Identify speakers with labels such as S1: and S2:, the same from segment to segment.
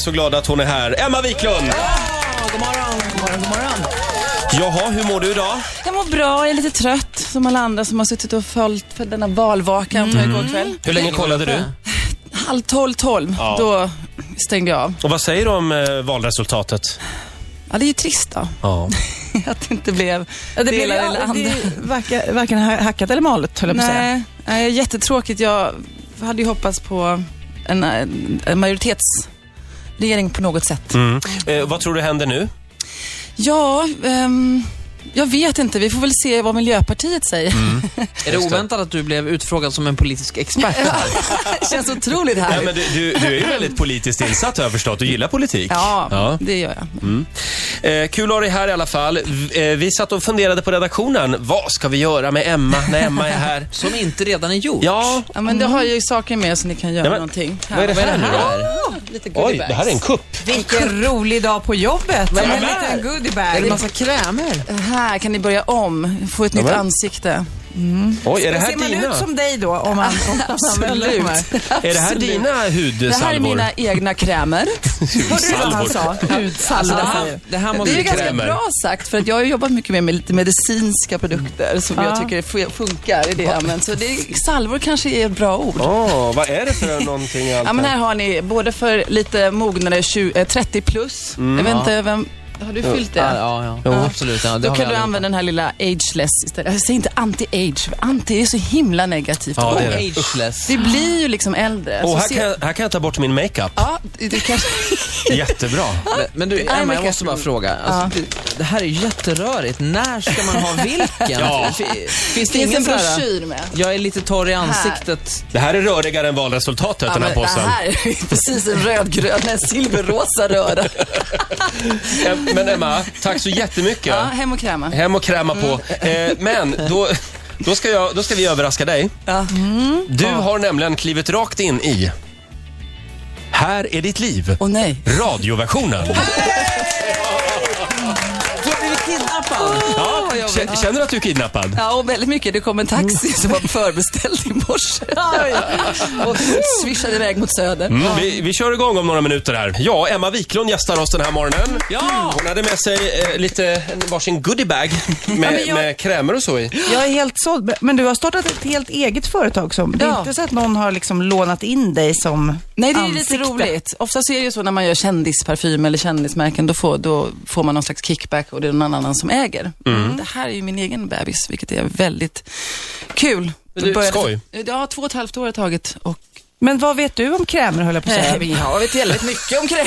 S1: så glada att hon är här. Emma Wiklund!
S2: God morgon, god morgon, god morgon.
S1: Jaha, hur mår du idag?
S2: Jag mår bra, jag är lite trött som alla andra som har suttit och följt för denna valvaka antar jag igår kväll.
S1: Hur länge kollade du?
S2: Halv tolv, tolv,
S1: Ja.
S2: då stängde jag av.
S1: Och vad säger du om eh, valresultatet?
S2: Ja, det är ju trist då
S1: Ja.
S2: att det inte blev
S3: Ja, det blev
S2: delar
S3: ju
S2: eller andra.
S3: aldrig, varken, varken ha- hackat eller malet, höll jag på att säga.
S2: Nej, nej, jättetråkigt. Jag hade ju hoppats på en, en, en majoritetsregering på något sätt.
S1: Mm. Eh, vad tror du händer nu?
S2: Ja, ehm, jag vet inte. Vi får väl se vad Miljöpartiet säger.
S4: Är det oväntat att du blev utfrågad som en politisk expert?
S2: Det känns otroligt
S1: Ja,
S2: här.
S1: men du, du, du är ju väldigt politiskt insatt har jag förstått. Du gillar politik.
S2: Ja,
S1: Ja.
S2: det gör jag.
S1: Eh, kul att ha dig här i alla fall. V- Eh, vi satt och funderade på redaktionen. Vad ska vi göra med Emma när Emma är här?
S4: Som inte redan är gjort?
S1: Ja,
S2: Ja, men det har ju saker med så ni kan göra
S1: Ja, men-
S2: någonting.
S1: vad är det här nu då?
S2: Lite
S1: Oj, det här är en kupp.
S3: Vilken rolig dag på jobbet. Med en
S1: men-
S3: liten goodiebag.
S4: massa krämer?
S2: Här kan ni börja om, få ett nytt
S1: men-
S2: ansikte.
S1: Oj, är det här
S3: Ser man ut
S1: dina?
S3: som dig då? Om man, om man
S2: Absolut.
S1: Är det här
S2: Absolut.
S1: dina
S2: Det här är
S1: hudsalvor?
S2: mina egna krämer.
S3: Hörde du vad han sa? Hudsalva.
S4: Ja, det här
S2: Det är
S4: måste
S2: ju
S4: vi
S2: ganska
S1: krämer.
S2: bra sagt, för att jag har ju jobbat mycket mer med lite medicinska produkter som jag
S3: Ja.
S2: tycker fu- funkar i det jag använt. Så det är, salvor kanske är ett bra ord.
S1: Åh, vad är det för någonting i allt
S2: Ja, men
S1: här?
S2: här har ni både för lite mognare tju- eh, 30 plus. Jag vet inte, vem, har du fyllt det?
S4: Ja, ja, ja. Jo, absolut. Ja, det
S2: Då
S4: har
S2: kan
S4: vi
S2: du
S4: alla
S2: använda den här lilla ageless istället. Jag säger inte anti-age, för anti är så himla negativt.
S1: Ja, det är
S4: gjort. Ageless.
S2: Vi blir ju liksom äldre.
S1: Och
S2: så
S1: här
S2: ser-
S1: kan, jag, här kan jag ta bort min makeup.
S2: Ja, det det kanske...
S1: Jättebra.
S4: Men- Men du, Emma, jag måste bara fråga. Alltså, det, det här är ju jätterörigt. När ska man ha vilken?
S1: Ja.
S4: Fin- Finns det,
S2: Det finns
S4: ingen
S2: en
S4: så här,
S2: broschyr med.
S4: jag är lite torr i ansiktet.
S1: Det här är rörigare än valresultatet, den här
S2: men det
S1: påsen.
S2: här är precis en rödgrön, en silverrosa röra.
S1: Em- Men Emma, tack så jättemycket.
S2: Ja, Mm. hem och kräma.
S1: Hem och kräma på. Eh, men då, då, ska jag, då ska vi överraska dig.
S2: Ja.
S1: Du har nämligen klivit rakt in i Här är ditt liv.
S2: Och nej.
S1: Radioversionen.
S4: Du har blivit kidnappad.
S1: Ja, kä- känner du att du är kidnappad?
S2: Ja, och väldigt mycket. Det kom en taxi som var förbeställd i morse. och swishade iväg mot söder.
S1: Mm, vi, vi kör igång om några minuter här. Ja, Emma Wiklund gästar oss den här morgonen.
S4: Ja.
S1: Hon hade med sig eh, lite en varsin goodiebag med,
S3: men jag-
S1: med krämer och så i.
S3: Jag är helt såld. Men du har startat ett helt eget företag. Som, Det är
S2: Ja.
S3: inte så att någon har liksom lånat in dig som
S2: Nej, det är ju
S3: ansikte.
S2: lite roligt. Ofta så är det ju så när man gör kändisparfym eller kändismärken, då får, då får man någon slags kickback och det är någon annan som äger. Det här är ju min egen bebis, vilket är väldigt kul.
S1: Men du,
S2: Började-
S1: skoj.
S2: Ja, två och ett halvt år har tagit och...
S3: Men vad vet du om krämer, höll jag på att säga?
S2: jag vet väldigt mycket om kräm.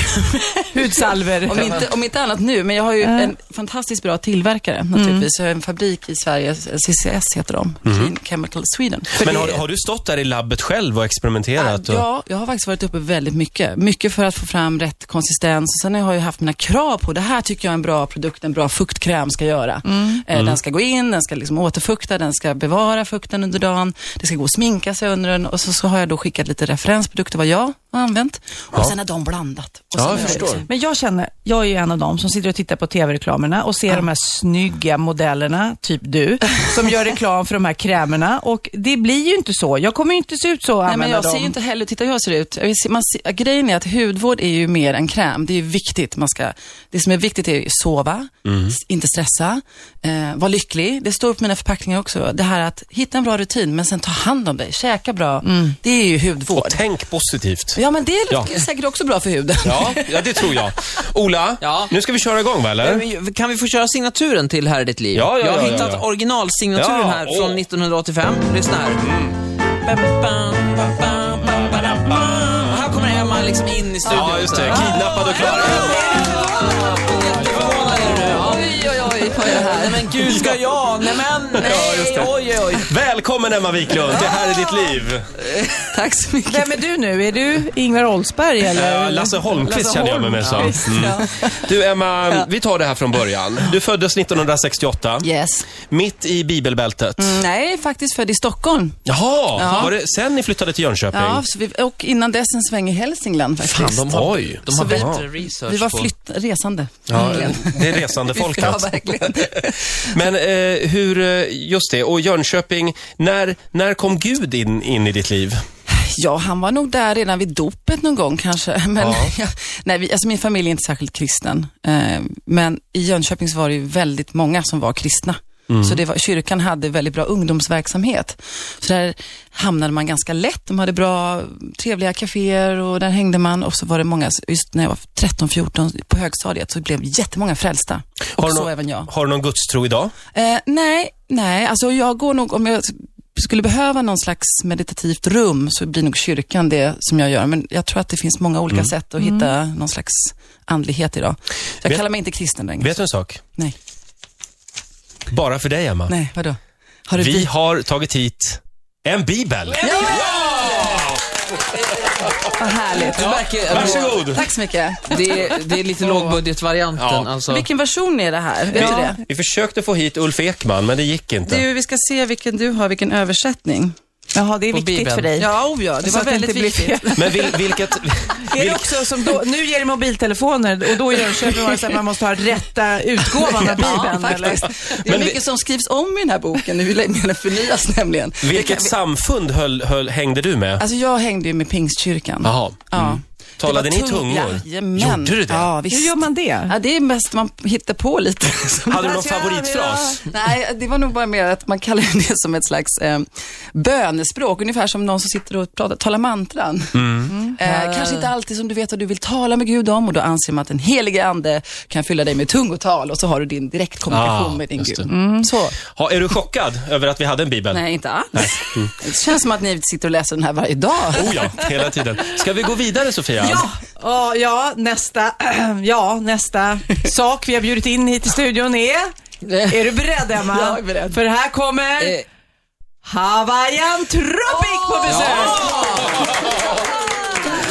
S3: Hudsalver.
S2: Om inte, om inte annat nu, men jag har ju en fantastiskt bra tillverkare naturligtvis.
S1: Mm.
S2: Jag har en fabrik i Sverige, CCS heter de,
S1: Mhm.
S2: Clean Chemical Sweden.
S1: Men har, har du stått där i labbet själv och experimenterat? Och...
S2: Ja, jag har faktiskt varit uppe väldigt mycket. Mycket för att få fram rätt konsistens. Och sen har jag ju haft mina krav på, det här tycker jag är en bra produkt, en bra fuktkräm ska göra.
S1: Mm.
S2: Eh, Den ska gå in, den ska liksom återfukta, den ska bevara fukten under dagen. Det ska gå att sminka sig under den. Och så, så har jag då skickat lite referensprodukter, vad jag har använt. Och sen har de blandat. Och sen
S1: jag
S2: är det
S1: förstår.
S3: Men jag känner, jag är ju en av dem som sitter och tittar på tv-reklamerna och ser de här snygga modellerna, typ du, som gör reklam för de här krämerna. Och det blir ju inte så. Jag kommer ju inte se ut så och
S2: Nej, men
S3: använda
S2: jag
S3: dem.
S2: ser ju inte heller, titta hur jag ser ut. Jag ser, man ser, grejen är att hudvård är ju mer än kräm. Det är ju viktigt. Man ska, det som är viktigt är ju sova,
S1: Mm.
S2: s- inte stressa, eh, vara lycklig. Det står på mina förpackningar också. Det här att hitta en bra rutin, men sen ta hand om dig, käka bra. Det är ju hudvård.
S1: Tänk positivt.
S2: Ja, men det är
S1: Mm. Ja.
S2: säkert också bra för huden.
S1: Ja, ja, det tror jag. Ola,
S4: Ja.
S1: nu ska vi köra igång va, eller?
S4: Eh, Men Kan vi få köra signaturen till Här är ditt liv?
S1: Eh? Ja, ja,
S4: jag har
S1: ja, ja,
S4: hittat
S1: ja.
S4: originalsignaturen
S1: Ja,
S4: här
S1: åh. Mm.
S4: från 1985. Lyssna här. Bam, bam, bam, bam, bam, bam, bam. Och här kommer Emma liksom in i studion.
S1: Ja, just det. Kidnappad och klar.
S4: Jätteförvånad är du nu. Ja.
S2: Oj, oj, oj, vad är det här?
S4: Nej men gud, ska jag? Nej men, nej,
S1: Ja, just det.
S4: oj, oj, oj.
S1: Välkommen Emma Wiklund, det här är ditt liv.
S2: Tack så mycket.
S3: Vem är du nu? Är du Ingvar Oldsberg eller?
S1: Eh, Lasse Holmqvist
S3: Lasse
S1: känner jag mig med som.
S3: Holmqvist,
S1: Mm.
S3: ja.
S1: Du Emma, vi tar det här från början. Du föddes 1968,
S2: Yes.
S1: mitt i bibelbältet.
S2: Mm, Nej, faktiskt född i Stockholm.
S1: Jaha,
S2: Ja.
S1: var det sen ni flyttade till Jönköping?
S2: Ja, så vi, och innan dess en sväng i Hälsingland faktiskt.
S1: de har, Oj.
S4: De har
S2: vi-
S4: bättre research
S2: vi var
S4: på-
S2: flytt, resande.
S1: Ja, det är resande
S2: Ja,
S1: folket.
S2: verkligen.
S1: Men eh, hur, eh, just det, och Jönköping, när, när kom Gud in, in i ditt liv?
S2: Ja, han var nog där redan vid dopet någon gång kanske. Men
S1: Ja.
S2: jag, nej, vi, alltså min familj är inte särskilt kristen. Eh, men i Jönköping så var det ju väldigt många som var kristna.
S1: Mm.
S2: Så det var, kyrkan hade väldigt bra ungdomsverksamhet. Så där hamnade man ganska lätt. De hade bra, trevliga kaféer och där hängde man. Och så var det många, just när jag var 13-14 på högstadiet så blev jättemånga frälsta. Och
S1: Har du
S2: så
S1: nå-
S2: även jag.
S1: Har du någon gudstro idag?
S2: Eh, nej, nej, alltså jag går nog, om jag skulle behöva någon slags meditativt rum så blir nog kyrkan det som jag gör. Men jag tror att det finns många olika
S1: Mm.
S2: sätt att hitta någon slags andlighet idag. Så jag
S1: Vet-
S2: kallar mig inte kristen längre.
S1: Vet du en sak?
S2: Nej,
S1: Bara för dig, Emma.
S2: nej, vadå? Har du
S1: Vi
S2: vi...
S1: har tagit hit en bibel.
S3: Vad härligt.
S4: Det verkar,
S1: Varsågod.
S2: Tack så mycket.
S4: Det, är- det är lite lågbudgetvarianten.
S1: Ja.
S4: Alltså.
S2: Vilken version är det här? Vet du det?
S1: Vi, vi försökte få hit Ulf Ekman, men det gick inte.
S2: Du, vi ska se vilken du har, vilken översättning.
S3: Jaha, det är
S4: På
S3: viktigt
S4: Bibeln.
S3: för dig.
S2: Ja, oh ja, det
S3: Så
S2: var
S3: att det
S2: väldigt
S3: inte blir
S2: viktigt.
S1: Men vil, vilket...
S3: Är det också som då, nu ger det mobiltelefoner och då i Jönköping var det så att man måste ha rätta utgåvan av Bibeln.
S2: ja,
S3: eller?
S2: faktiskt. Det är
S1: Men vi-
S2: mycket som skrivs om i den här boken nu, hur den förnyas nämligen. Det
S1: Vilket samfund höll, höll, hängde du med?
S2: Alltså jag hängde ju med pingstkyrkan.
S1: Jaha.
S2: Ja.
S1: Talade
S2: Det
S1: ni
S2: var
S1: i
S2: tung-
S1: tungor?
S2: Jajamän.
S1: Gjorde du det?
S2: Ja,
S3: Hur
S2: visst.
S3: gör man det?
S2: Ja, det är mest man hittar på lite. som-
S1: Hade du någon
S3: Vad ska vi
S1: favoritfras?
S2: Nej, det var nog bara mer att man kallar det som ett slags eh, bönespråk. Ungefär som någon som sitter och pratar, talar mantran. Eh, kanske inte alltid som du vet vad du vill tala med Gud om och då anser man att den helige ande kan fylla dig med tungotal och så har du din direktkommunikation
S1: Ah,
S2: med din
S1: just
S2: Gud.
S1: det.
S2: Mm. Så.
S1: Ha, är du chockad över att vi hade en bibel?
S2: Nej, Mm. inte alls. Det känns som att ni sitter och läser den här varje dag.
S1: Oh ja, hela tiden. Ska vi gå vidare, Sofia?
S3: Ja, ja, ja, nästa, ja, nästa sak vi har bjudit in hit i studion är... Är du beredd, Emma?
S2: Jag är beredd.
S3: För här kommer
S4: Eh,
S3: Hawaiian Tropic på besök!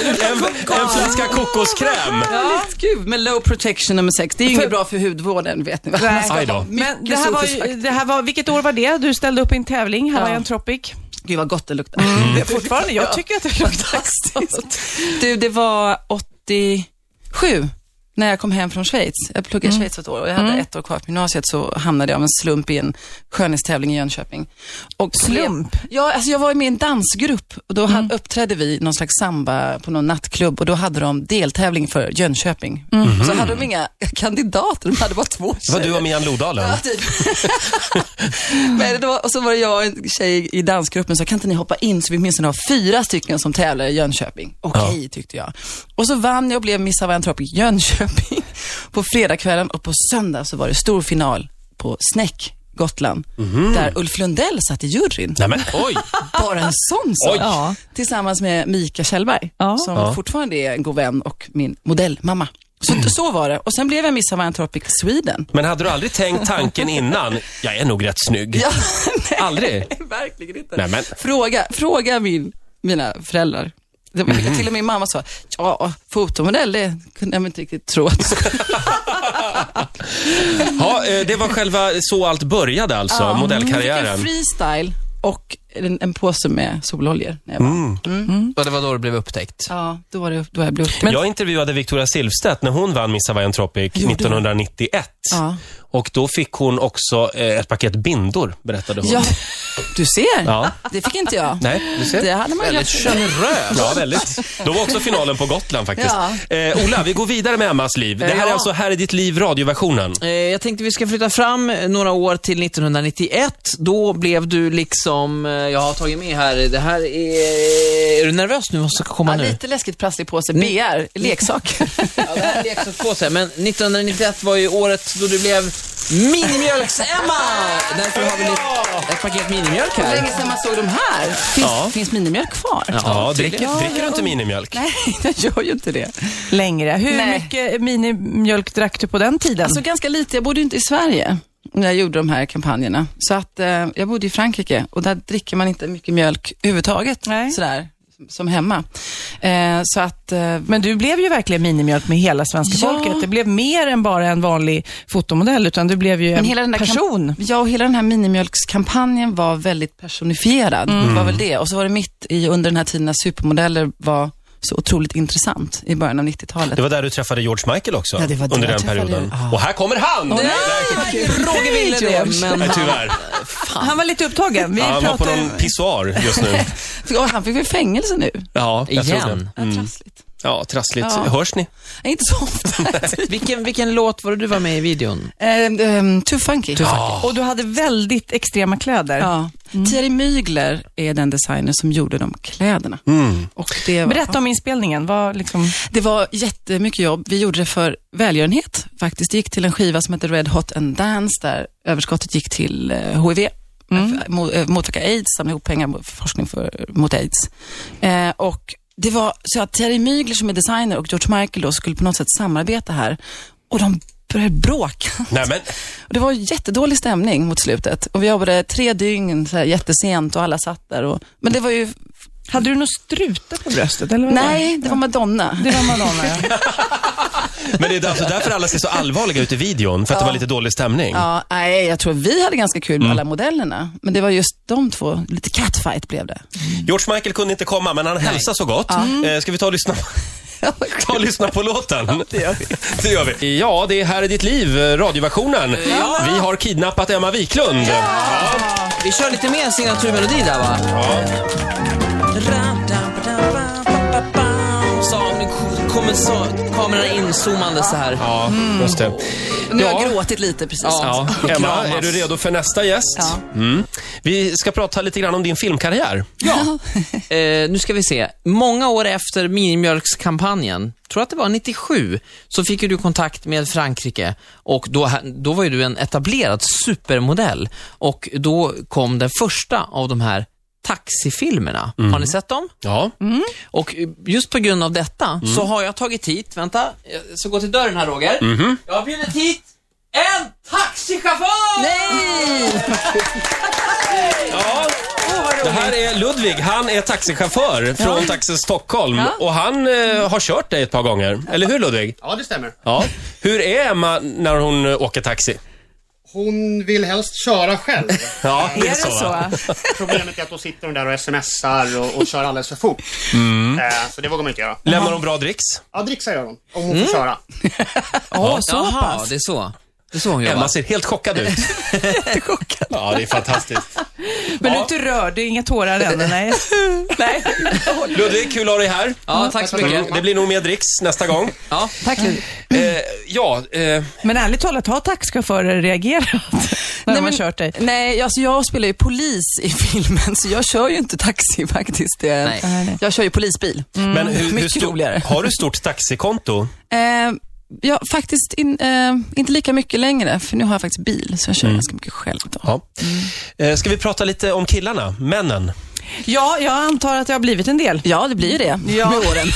S1: En, en flaska kokoskräm.
S2: Väldigt kul med low protection nummer sex. Det är ju inget bra för hudvården, vet ni Alltså, vad man ska
S1: Aj då.
S2: ha.
S3: Men
S2: Mycket
S3: det här, var, ju-
S2: solskyddsfaktor.
S3: det här var, vilket år var det? Du ställde upp i en tävling, Hawaiian Tropic.
S2: Gud vad gott det luktar.
S3: Mm.
S2: Det är
S3: Fortfarande, jag tycker att det är
S2: fantastiskt. Du, det var 87 när jag kom hem från Schweiz. Jag pluggade i Schweiz ett år och jag hade ett år kvar på gymnasiet så hamnade jag av en slump i en skönhetstävling i Jönköping. Och
S3: Slump?
S2: Ja, alltså jag var ju med i en dansgrupp och då hade, uppträdde vi i någon slags samba på någon nattklubb och då hade de deltävling för Jönköping. Och Så hade de inga kandidater, de hade bara två
S1: Vad du
S2: tjejer.
S1: och Mian Lodalen.
S2: Ja, typ. Men det var, och så var det jag och en tjej i dansgruppen så kan inte ni hoppa in så vi åtminstone har fyra stycken som tävlar i Jönköping. Okej, tyckte jag. Och så vann jag och blev Miss Hawaiian Tropic Jönköping på fredagskvällen och på söndag så var det stor final på Snäck, Gotland, där Ulf Lundell satt i juryn.
S1: Nej, men, oj.
S2: Bara en sån sak.
S1: Oj.
S3: Ja.
S2: Tillsammans med Mika Kjellberg,
S3: Ja.
S2: som
S1: Ja.
S2: fortfarande är en god vän och min modellmamma. Så, så var det. Och sen blev jag Miss Hawaiian Tropic Sweden.
S1: men hade du aldrig tänkt tanken innan, jag är nog rätt snygg?
S2: Ja, nej.
S1: Aldrig?
S2: Verkligen inte.
S1: Nej, men.
S2: Fråga, fråga min, mina föräldrar. Det var,
S1: Mhm.
S2: Till och med min mamma sa, ja, fotomodell, det kunde jag väl inte riktigt tro att
S1: Ja, eh, det var själva så allt började alltså,
S2: En
S1: modellkarriären.
S2: freestyle och en, en påse med sololjor. När jag var.
S1: Mm.
S4: Och det var då det blev upptäckt.
S2: Ja, då var det, då var jag blev upptäckt.
S1: Jag intervjuade Victoria Silvstedt när hon vann Miss Hawaiian Tropic 1991.
S2: Ja.
S1: Och då fick hon också eh, ett paket bindor, berättade hon.
S2: Ja, du ser.
S1: Ja.
S2: Det fick inte jag.
S1: Nej, du ser.
S2: Det hade man
S4: Väldigt
S2: glömt.
S4: generös.
S1: Ja, väldigt. Då var också finalen på Gotland faktiskt.
S2: Ja.
S1: Eh, Ola, vi går vidare med Emmas liv. Det här är
S4: Ja.
S1: alltså Här i ditt liv, radioversionen.
S4: Eh, Jag tänkte vi ska flytta fram eh, några år till 1991. Då blev du liksom, eh, jag har tagit med här, det här är... Är du nervös nu vad som ska komma
S2: Ja,
S4: nu?
S2: lite läskigt plastig påse,
S1: Mm.
S2: BR, leksak.
S4: Ja, det här är leksakspåse, men 1991 var ju året då du blev Minimjölks-Emma! Därför har vi lite, ett paket minimjölk
S2: Hur
S4: här.
S2: länge sedan man såg de här? Finns,
S1: Ja.
S2: finns minimjölk kvar?
S1: Ja, dricker,
S4: tydligen.
S1: dricker du inte minimjölk?
S2: Nej, jag gör ju inte det.
S3: längre. Hur
S2: Nej.
S3: mycket minimjölk drack du på den tiden?
S2: Alltså ganska lite. Jag bodde ju inte i Sverige när jag gjorde de här kampanjerna. Så att eh, jag bodde i Frankrike och där dricker man inte mycket mjölk överhuvudtaget.
S3: Nej.
S2: Sådär, som hemma. Eh, så att, eh,
S3: men du blev ju verkligen minimjölk med hela svenska
S2: Ja.
S3: folket. Det blev mer än bara en vanlig fotomodell, utan du blev ju en
S2: Men hela den där
S3: person.
S2: Ja, och hela den här minimjölkskampanjen var väldigt personifierad. Det var väl det. Och så var det mitt i, under den här tiden när supermodeller var så otroligt intressant i början av 90-talet.
S1: Det var där du träffade George Michael också,
S2: Ja, det var där
S1: under
S2: jag
S1: den
S2: träffade
S1: perioden.
S2: George.
S1: Och här kommer han!
S4: Nej, Roger ville det, men
S1: Nej, tyvärr.
S2: han?
S3: Han var lite upptagen. Vi
S1: Ja, han var på
S3: pratade...
S1: någon pissoar just nu.
S2: Ja, han fick väl fängelse nu?
S1: Ja, jag tror det.
S4: Igen.
S2: Ja, trassligt.
S1: Ja, trassligt.
S2: Ja.
S1: Hörs ni?
S2: Nej, Mm. Inte så ofta.
S4: Vilken, vilken låt var det du var med i videon?
S2: Ehm, ehm, Too funky.
S3: Ah. Och du hade väldigt extrema kläder.
S2: Ja. Mm. Thierry Mygler är den designer som gjorde de kläderna. Och det var,
S3: Berätta om inspelningen. Vad liksom...
S2: Det var jättemycket jobb. Vi gjorde det för välgörenhet faktiskt. Det gick till en skiva som heter Red Hot and Dance där överskottet gick till eh, HIV. Mm. Motverka aids, samla ihop pengar mot- för forskning för, mot aids. Eh, och det var så att Thierry Mygler som är designer och George Michael då skulle på något sätt samarbeta här. Och de började bråka.
S1: Nej, men
S2: Och det var jättedålig stämning mot slutet. Och vi jobbade tre dygn så här, jättesent och alla satt där. Och, men det var ju...
S3: Mm. Hade du någon struta på bröstet? Eller vad var
S2: Nej, det var Madonna.
S3: det? Det var Madonna, ja.
S1: Men det är alltså därför alla ser så allvarliga ut i videon, för att det var lite dålig stämning.
S2: Ja, nej, jag tror vi hade ganska kul
S1: Mm.
S2: med alla modellerna. Men det var just de två, lite catfight blev det.
S1: George Michael kunde inte komma, men han hälsade så gott.
S2: Mm.
S1: Eh, ska vi ta och lyssna, ta och lyssna på låten? det, gör vi. Ja, det är Här är ditt liv, eh, radioversionen. Vi har kidnappat Emma Wiklund.
S4: Vi kör lite mer signaturmelodi där va? Så om det kommer så, kameran inzoomande så här.
S1: Ja, just det.
S2: Nu har
S1: Ja.
S2: jag gråtit lite precis.
S1: Ja, Emma, är du redo för nästa gäst? Mm. Vi ska prata lite grann om din filmkarriär.
S4: Ja. eh, nu ska vi se. Många år efter minimjölkskampanjen, tror att det var 97, så fick ju du kontakt med Frankrike och då, då var ju du en etablerad supermodell och då kom den första av de här taxifilmerna. Har ni sett dem?
S1: Ja.
S4: Och just på grund av detta så har jag tagit hit, vänta, jag ska gå till dörren här Roger. Jag har bjudit hit en taxichaufför!
S1: ja. Det här är Ludvig. Han är taxichaufför från Taxi Stockholm och han eh, har kört dig ett par gånger. Eller hur Ludvig?
S5: Ja, det stämmer.
S1: Ja. Hur är Emma när hon eh, åker taxi?
S5: Hon vill helst köra själv.
S1: Ja,
S3: Är det så?
S1: va?
S5: Problemet är att då sitter hon där och smsar och, och kör alldeles för fort. Eh, så det vågar man inte göra.
S1: Lämnar hon bra dricks?
S5: Ja, dricksa gör hon. Om hon får köra.
S3: Åh, så
S4: Jaha,
S3: pass.
S4: det är så. Det är så hon
S1: Emma
S4: jobbar.
S1: ser helt chockad ut.
S2: Jättechockad.
S1: Ja, det är fantastiskt.
S3: Men du är inte rörd, det är inga tårar än? Nej. nej.
S1: Ludvig, kul att ha dig här.
S4: Ja, tack så mycket.
S1: Det blir nog mer dricks nästa gång.
S4: Ja.
S3: Tack
S1: Eh, ja, eh,
S3: Men ärligt talat, har taxichaufförer reagerat när de har kört dig?
S2: Nej, alltså jag spelar ju polis i filmen, så jag kör ju inte taxi faktiskt. Det,
S4: Nej.
S3: Nej, Mm. nej.
S2: Jag kör ju polisbil.
S1: men hur, hur
S2: mycket roligare.
S1: har du stort taxikonto?
S2: Eh, ja, faktiskt in, eh, inte lika mycket längre, för nu har jag faktiskt bil, så jag kör ganska mycket själv. Då.
S1: Ja. Eh, ska vi prata lite om killarna, männen?
S3: Ja, jag antar att det har blivit en del.
S2: Ja, det blir ju det
S3: Ja.
S2: med åren.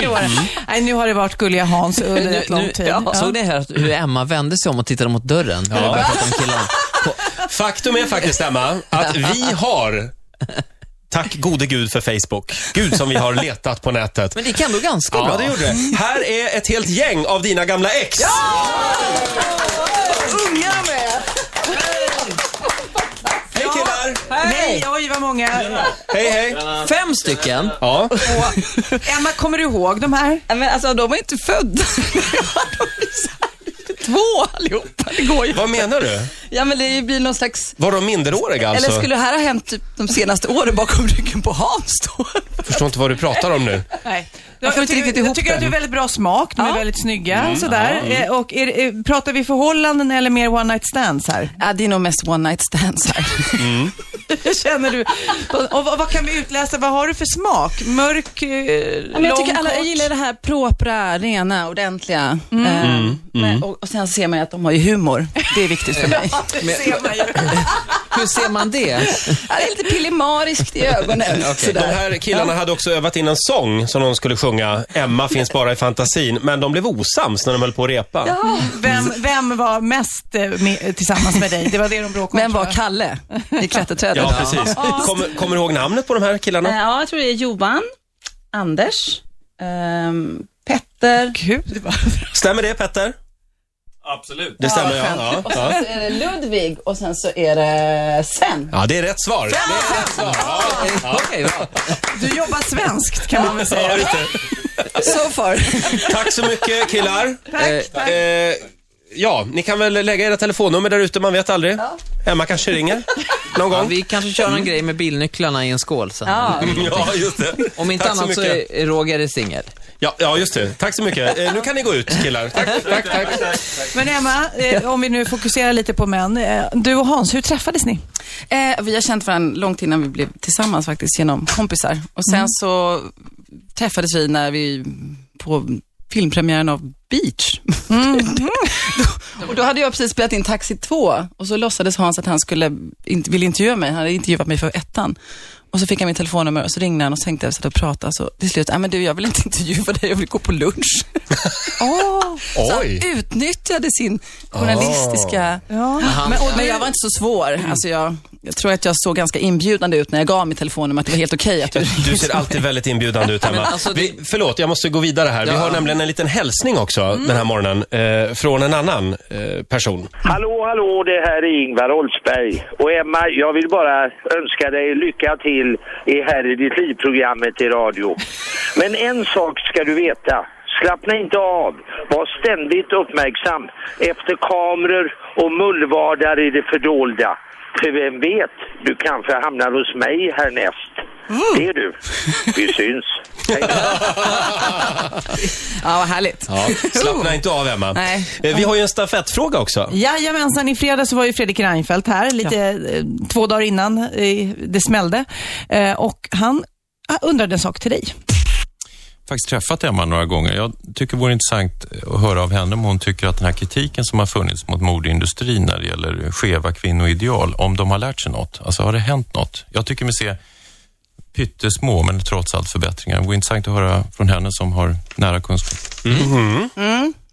S3: Det var det. Nej, nu har det varit gulliga Hans under
S4: Nu,
S3: rätt lång
S4: nu,
S3: tid.
S4: ja. Såg ni här att hur Emma vände sig om och tittade mot dörren? när vi började prata om killarna?
S1: Faktum är faktiskt, Emma, att vi har Tack gode gud för Facebook. Gud som vi har letat på nätet.
S4: Men det gick ändå ganska bra.
S1: Ja, det gjorde det. Här är ett helt gäng av dina gamla ex.
S3: Unga med!
S1: Hej killar!
S3: Nej, oj vad många.
S1: Hej hej!
S4: Fem stycken.
S1: Ja.
S3: Emma, kommer du ihåg de här?
S2: Nej, Men alltså, de var ju inte födda. De är så här- Två allihopa, det går ju.
S1: Vad menar du?
S2: Ja, men det blir någon slags...
S1: Var de minderåriga alltså?
S2: Eller skulle det här ha hänt typ de senaste åren bakom ryggen på Hans då?
S1: Förstår inte vad du pratar om nu.
S3: Nej.
S2: Jag får inte
S3: tycker,
S2: riktigt ihop
S3: jag tycker att du är väldigt bra smak, de är
S2: Ja.
S3: väldigt snygga och sådär. Eh, Och är, eh, pratar vi förhållanden eller mer one night stands här?
S2: Ja, det är nog mest one night stands här.
S3: Känner du? Och vad, vad kan vi utläsa, vad har du för smak? Mörk, eh,
S2: Men jag
S3: lång,
S2: tycker alla
S3: kort?
S2: jag gillar det här propra, rena, ordentliga. Eh, Men, och, och sen ser man ju att de har ju humor. Det är viktigt för mig.
S3: Det ser man ju.
S4: Hur ser man det?
S2: Ja, det är lite pillemariskt i ögonen.
S1: De
S2: sådär.
S1: här killarna hade också övat in en sång som de skulle sjunga, Emma finns bara i fantasin, men de blev osams när de höll på att repa.
S3: Vem, vem var mest eh, med, tillsammans med dig? Det var det de bråkade
S2: Men
S3: om.
S2: var
S3: tror jag.
S2: Kalle i klätterträdet?
S1: Ja, precis. Kommer, kommer du ihåg namnet på de här killarna?
S2: Ja, jag tror det är Johan, Anders, ehm, Petter.
S3: Gud, vad...
S1: Stämmer det Petter?
S6: Absolut.
S1: Det stämmer ja. Ja, ja.
S2: är det Ludvig och sen så är det Sven.
S1: ja det är rätt svar. Det är rätt svar. Ja,
S4: Eh, Okej, bra.
S3: Du jobbar svenskt kan man väl säga.
S1: ja, just det.
S2: So far.
S1: Tack så mycket killar.
S3: Tack, tack.
S1: Eh, ja, ni kan väl lägga era telefonnummer där ute, man vet aldrig. Emma kanske ringer någon
S4: Ja,
S1: gång.
S4: vi kanske kör någon grej med bilnycklarna i en skål sen.
S2: Ja.
S1: Mm. Ja, just det.
S4: Om inte
S1: Tack så
S4: annat så
S1: mycket.
S4: är Roger singel.
S1: Ja, ja, just det. Tack så mycket. Eh, nu kan ni gå ut, killar. Tack, tack, tack.
S3: Men Emma, eh, om vi nu fokuserar lite på män. Eh, du och Hans, hur träffades ni?
S2: Eh, vi har känt varandra långt innan vi blev tillsammans faktiskt, genom kompisar. Och sen så träffades vi när vi, på filmpremiären av Beach. då, och då hade jag precis spelat in Taxi 2 och så låtsades Hans att han skulle, inte, ville intervjua mig, han hade intervjuat mig för ettan. Och så fick han mitt telefonnummer och så ringde han och så tänkte jag satt och pratade så till slut, nej men du jag vill inte intervjua dig, jag vill gå på lunch. Så han
S1: Oj.
S2: utnyttjade sin journalistiska
S3: Ja.
S2: men, och, men jag var inte så svår. Alltså jag, jag tror att jag såg ganska inbjudande ut när jag gav mitt telefonnummer, att det var helt okej att du ringde.
S1: Du ser alltid väldigt inbjudande ut, Emma.
S4: Men alltså, det-
S1: vi, förlåt, jag måste gå vidare här. Vi
S4: Ja.
S1: har nämligen en liten hälsning också den här morgonen eh, från en annan eh, person.
S7: Hallå, hallå, det här är Ingvar Oldsberg. Och Emma, jag vill bara önska dig lycka till i Här i ditt liv-programmet i radio. Men en sak ska du veta. Slappna inte av. Var ständigt uppmärksam efter kameror och mullvardar i det fördolda. För vem vet, du kanske hamnar hos mig härnäst. Det är du. Vi syns. Hej då.
S2: Ja, vad härligt.
S1: Ja, slappna inte av, Emma.
S2: Nej.
S1: Eh, vi har ju en stafettfråga också.
S3: Jajamensan, i fredags så var ju Fredrik Reinfeldt här, lite eh, två dagar innan eh, det smällde. Eh, och han ah, undrade en sak till dig.
S8: faktiskt träffat Emma några gånger. Jag tycker det vore intressant att höra av henne om hon tycker att den här kritiken som har funnits mot modeindustrin när det gäller skeva kvinnoideal, om de har lärt sig något. Alltså har det hänt något? Jag tycker mig se pyttesmå, men trots allt förbättringar. Det vore intressant att höra från henne som har nära kunskap.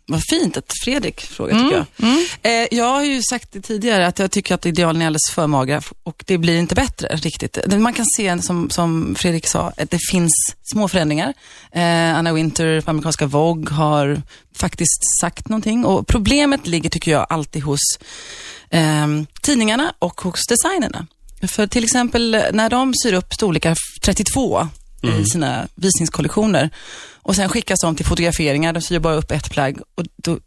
S2: Vad fint att Fredrik frågar, tycker jag. Eh, jag har ju sagt det tidigare, att jag tycker att idealen är alldeles för magra och det blir inte bättre riktigt. Det- Man kan se, som, som Fredrik sa, att det finns små förändringar. Eh, Anna Winter på amerikanska Vogue har faktiskt sagt någonting och problemet ligger, tycker jag, alltid hos ehm, tidningarna och hos designerna. För till exempel när de syr upp storlekar 32 i sina visningskollektioner och sen skickas de till fotograferingar, de syr bara upp ett plagg och då, då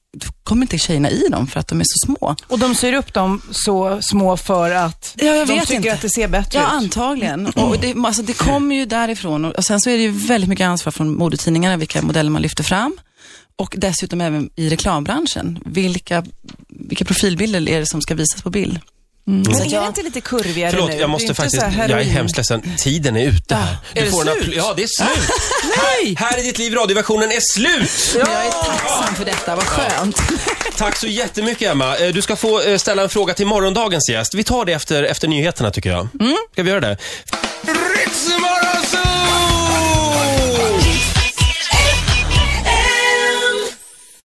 S2: kommer inte tjejerna i dem för att de är så små.
S3: Och de syr upp dem så små för att
S2: Ja, jag
S3: de
S2: vet
S3: tycker
S2: inte.
S3: att det ser bättre
S2: Ja,
S3: ut.
S2: antagligen. Och det, alltså, det kommer ju därifrån. Och, och sen så är det ju väldigt mycket ansvar från modetidningarna vilka modeller man lyfter fram. Och dessutom även i reklambranschen. Vilka, vilka profilbilder är det som ska visas på bild?
S3: Men är det inte lite kurvigare
S1: Förlåt,
S3: nu?
S1: jag
S3: Det är
S1: måste
S3: inte
S1: faktiskt...
S3: så här
S1: Jag är
S3: heroin.
S1: hemskt ledsen. Tiden är ute här. Du
S2: Är det
S1: en
S2: slut?
S1: appl- Ja, det är slut. Nej! Här, här är ditt liv, radioversionen är slut!
S2: Men Jag är tacksam för detta, vad skönt.
S1: Tack så jättemycket, Emma. Eh, Du ska få eh, ställa en fråga till morgondagens gäst. Vi tar det efter, efter nyheterna, tycker jag. Ska vi göra det?